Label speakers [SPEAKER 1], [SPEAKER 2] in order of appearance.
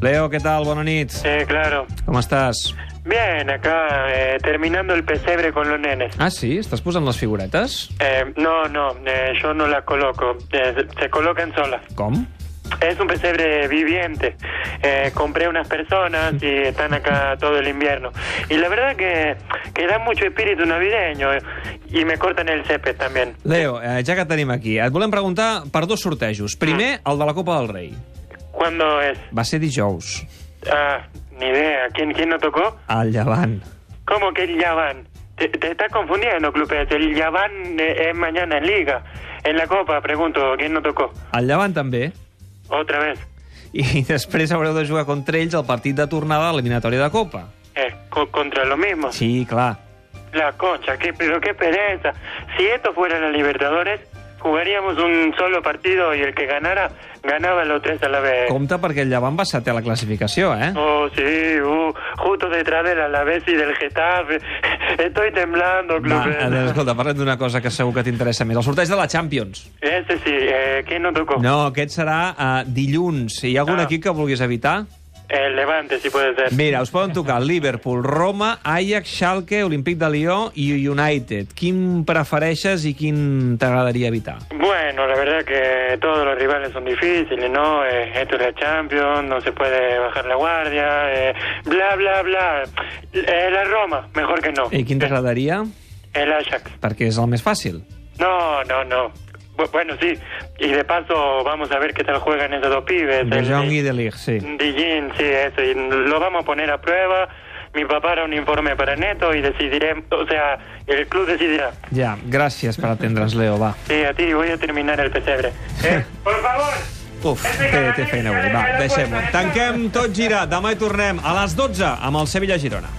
[SPEAKER 1] Leo, ¿qué tal? Buenas noches.
[SPEAKER 2] Eh, claro.
[SPEAKER 1] ¿Cómo estás?
[SPEAKER 2] Bien, acá eh, terminando el pesebre con los nenes.
[SPEAKER 1] Ah, sí? Estàs posant les figuretes?
[SPEAKER 2] Eh, no, no, eh, yo no las coloco, eh, se colocan solas.
[SPEAKER 1] Com?
[SPEAKER 2] Es un pesebre viviente. Eh, compré unas personas y están acá todo el invierno. Y la verdad que, que da mucho espíritu navideño. eh, Y me cortan el césped también.
[SPEAKER 1] Leo, eh, ja que et tenim aquí, et volem preguntar per dos sortejos. Primer, el de la Copa del Rei.
[SPEAKER 2] ¿Cuándo es?
[SPEAKER 1] Va ser dijous,
[SPEAKER 2] Ah, ni idea. ¿Quién, quién no tocó?
[SPEAKER 1] al Llevant.
[SPEAKER 2] ¿Cómo que el Yaván? Te, te estás confundiendo, Clupet. El Yaván eh, es mañana en Liga. En la Copa, pregunto, ¿quién no tocó?
[SPEAKER 1] Al Llevant també.
[SPEAKER 2] Otra vez.
[SPEAKER 1] I després haureu de jugar contra ells el partit de tornada a l'eliminatòria de Copa.
[SPEAKER 2] Eh, co- contra lo mismo.
[SPEAKER 1] Sí, clar.
[SPEAKER 2] La concha, qué, pero qué pereza. Si esto fuera la Libertadores, jugaríamos un solo partido y el que ganara, ganaba los tres a la vez.
[SPEAKER 1] Compte perquè el Llevant va setè a la classificació, eh?
[SPEAKER 2] Oh, sí, uh, justo detrás del Alavés y del Getafe. Estoy temblando,
[SPEAKER 1] Va,
[SPEAKER 2] Clubes.
[SPEAKER 1] eh, escolta, parlem d'una cosa que segur que t'interessa més. El sorteig de la Champions.
[SPEAKER 2] Ese sí, eh, ¿quién no tocó?
[SPEAKER 1] No, aquest serà eh, dilluns. Hi ha algun
[SPEAKER 2] Ah.
[SPEAKER 1] equip que vulguis evitar?
[SPEAKER 2] El Levante, si puede ser.
[SPEAKER 1] Mira, us poden tocar Liverpool, Roma, Ajax, Schalke, Olímpic de Lió i United. Quin prefereixes i quin t'agradaria evitar?
[SPEAKER 2] Bueno, la verdad que todos los rivales son difíciles, ¿no? Eh, esto es la Champions, no se puede bajar la guardia, eh, bla, bla, bla. Eh, la Roma, mejor que no. Eh,
[SPEAKER 1] I quin t'agradaria?
[SPEAKER 2] El Ajax.
[SPEAKER 1] Perquè és el més fàcil.
[SPEAKER 2] No, no, no. Bu- bueno, sí. Y de paso vamos a ver qué tal juegan esos dos pibes.
[SPEAKER 1] De
[SPEAKER 2] El-
[SPEAKER 1] Jong i de Ligt, sí.
[SPEAKER 2] Dijin, sí, eso. Y lo vamos a poner a prueba. Mi papá hará un informe para Neto y decidiré, o sea, el club decidirá.
[SPEAKER 1] Ja, gràcies per atendre'ns, Leo, va.
[SPEAKER 2] Sí, a ti voy a terminar el pesebre. Eh, por favor.
[SPEAKER 1] Uf, té, té feina avui, va, deixem-ho. Tanquem tot girat, demà hi tornem a les 12 amb el Sevilla Girona.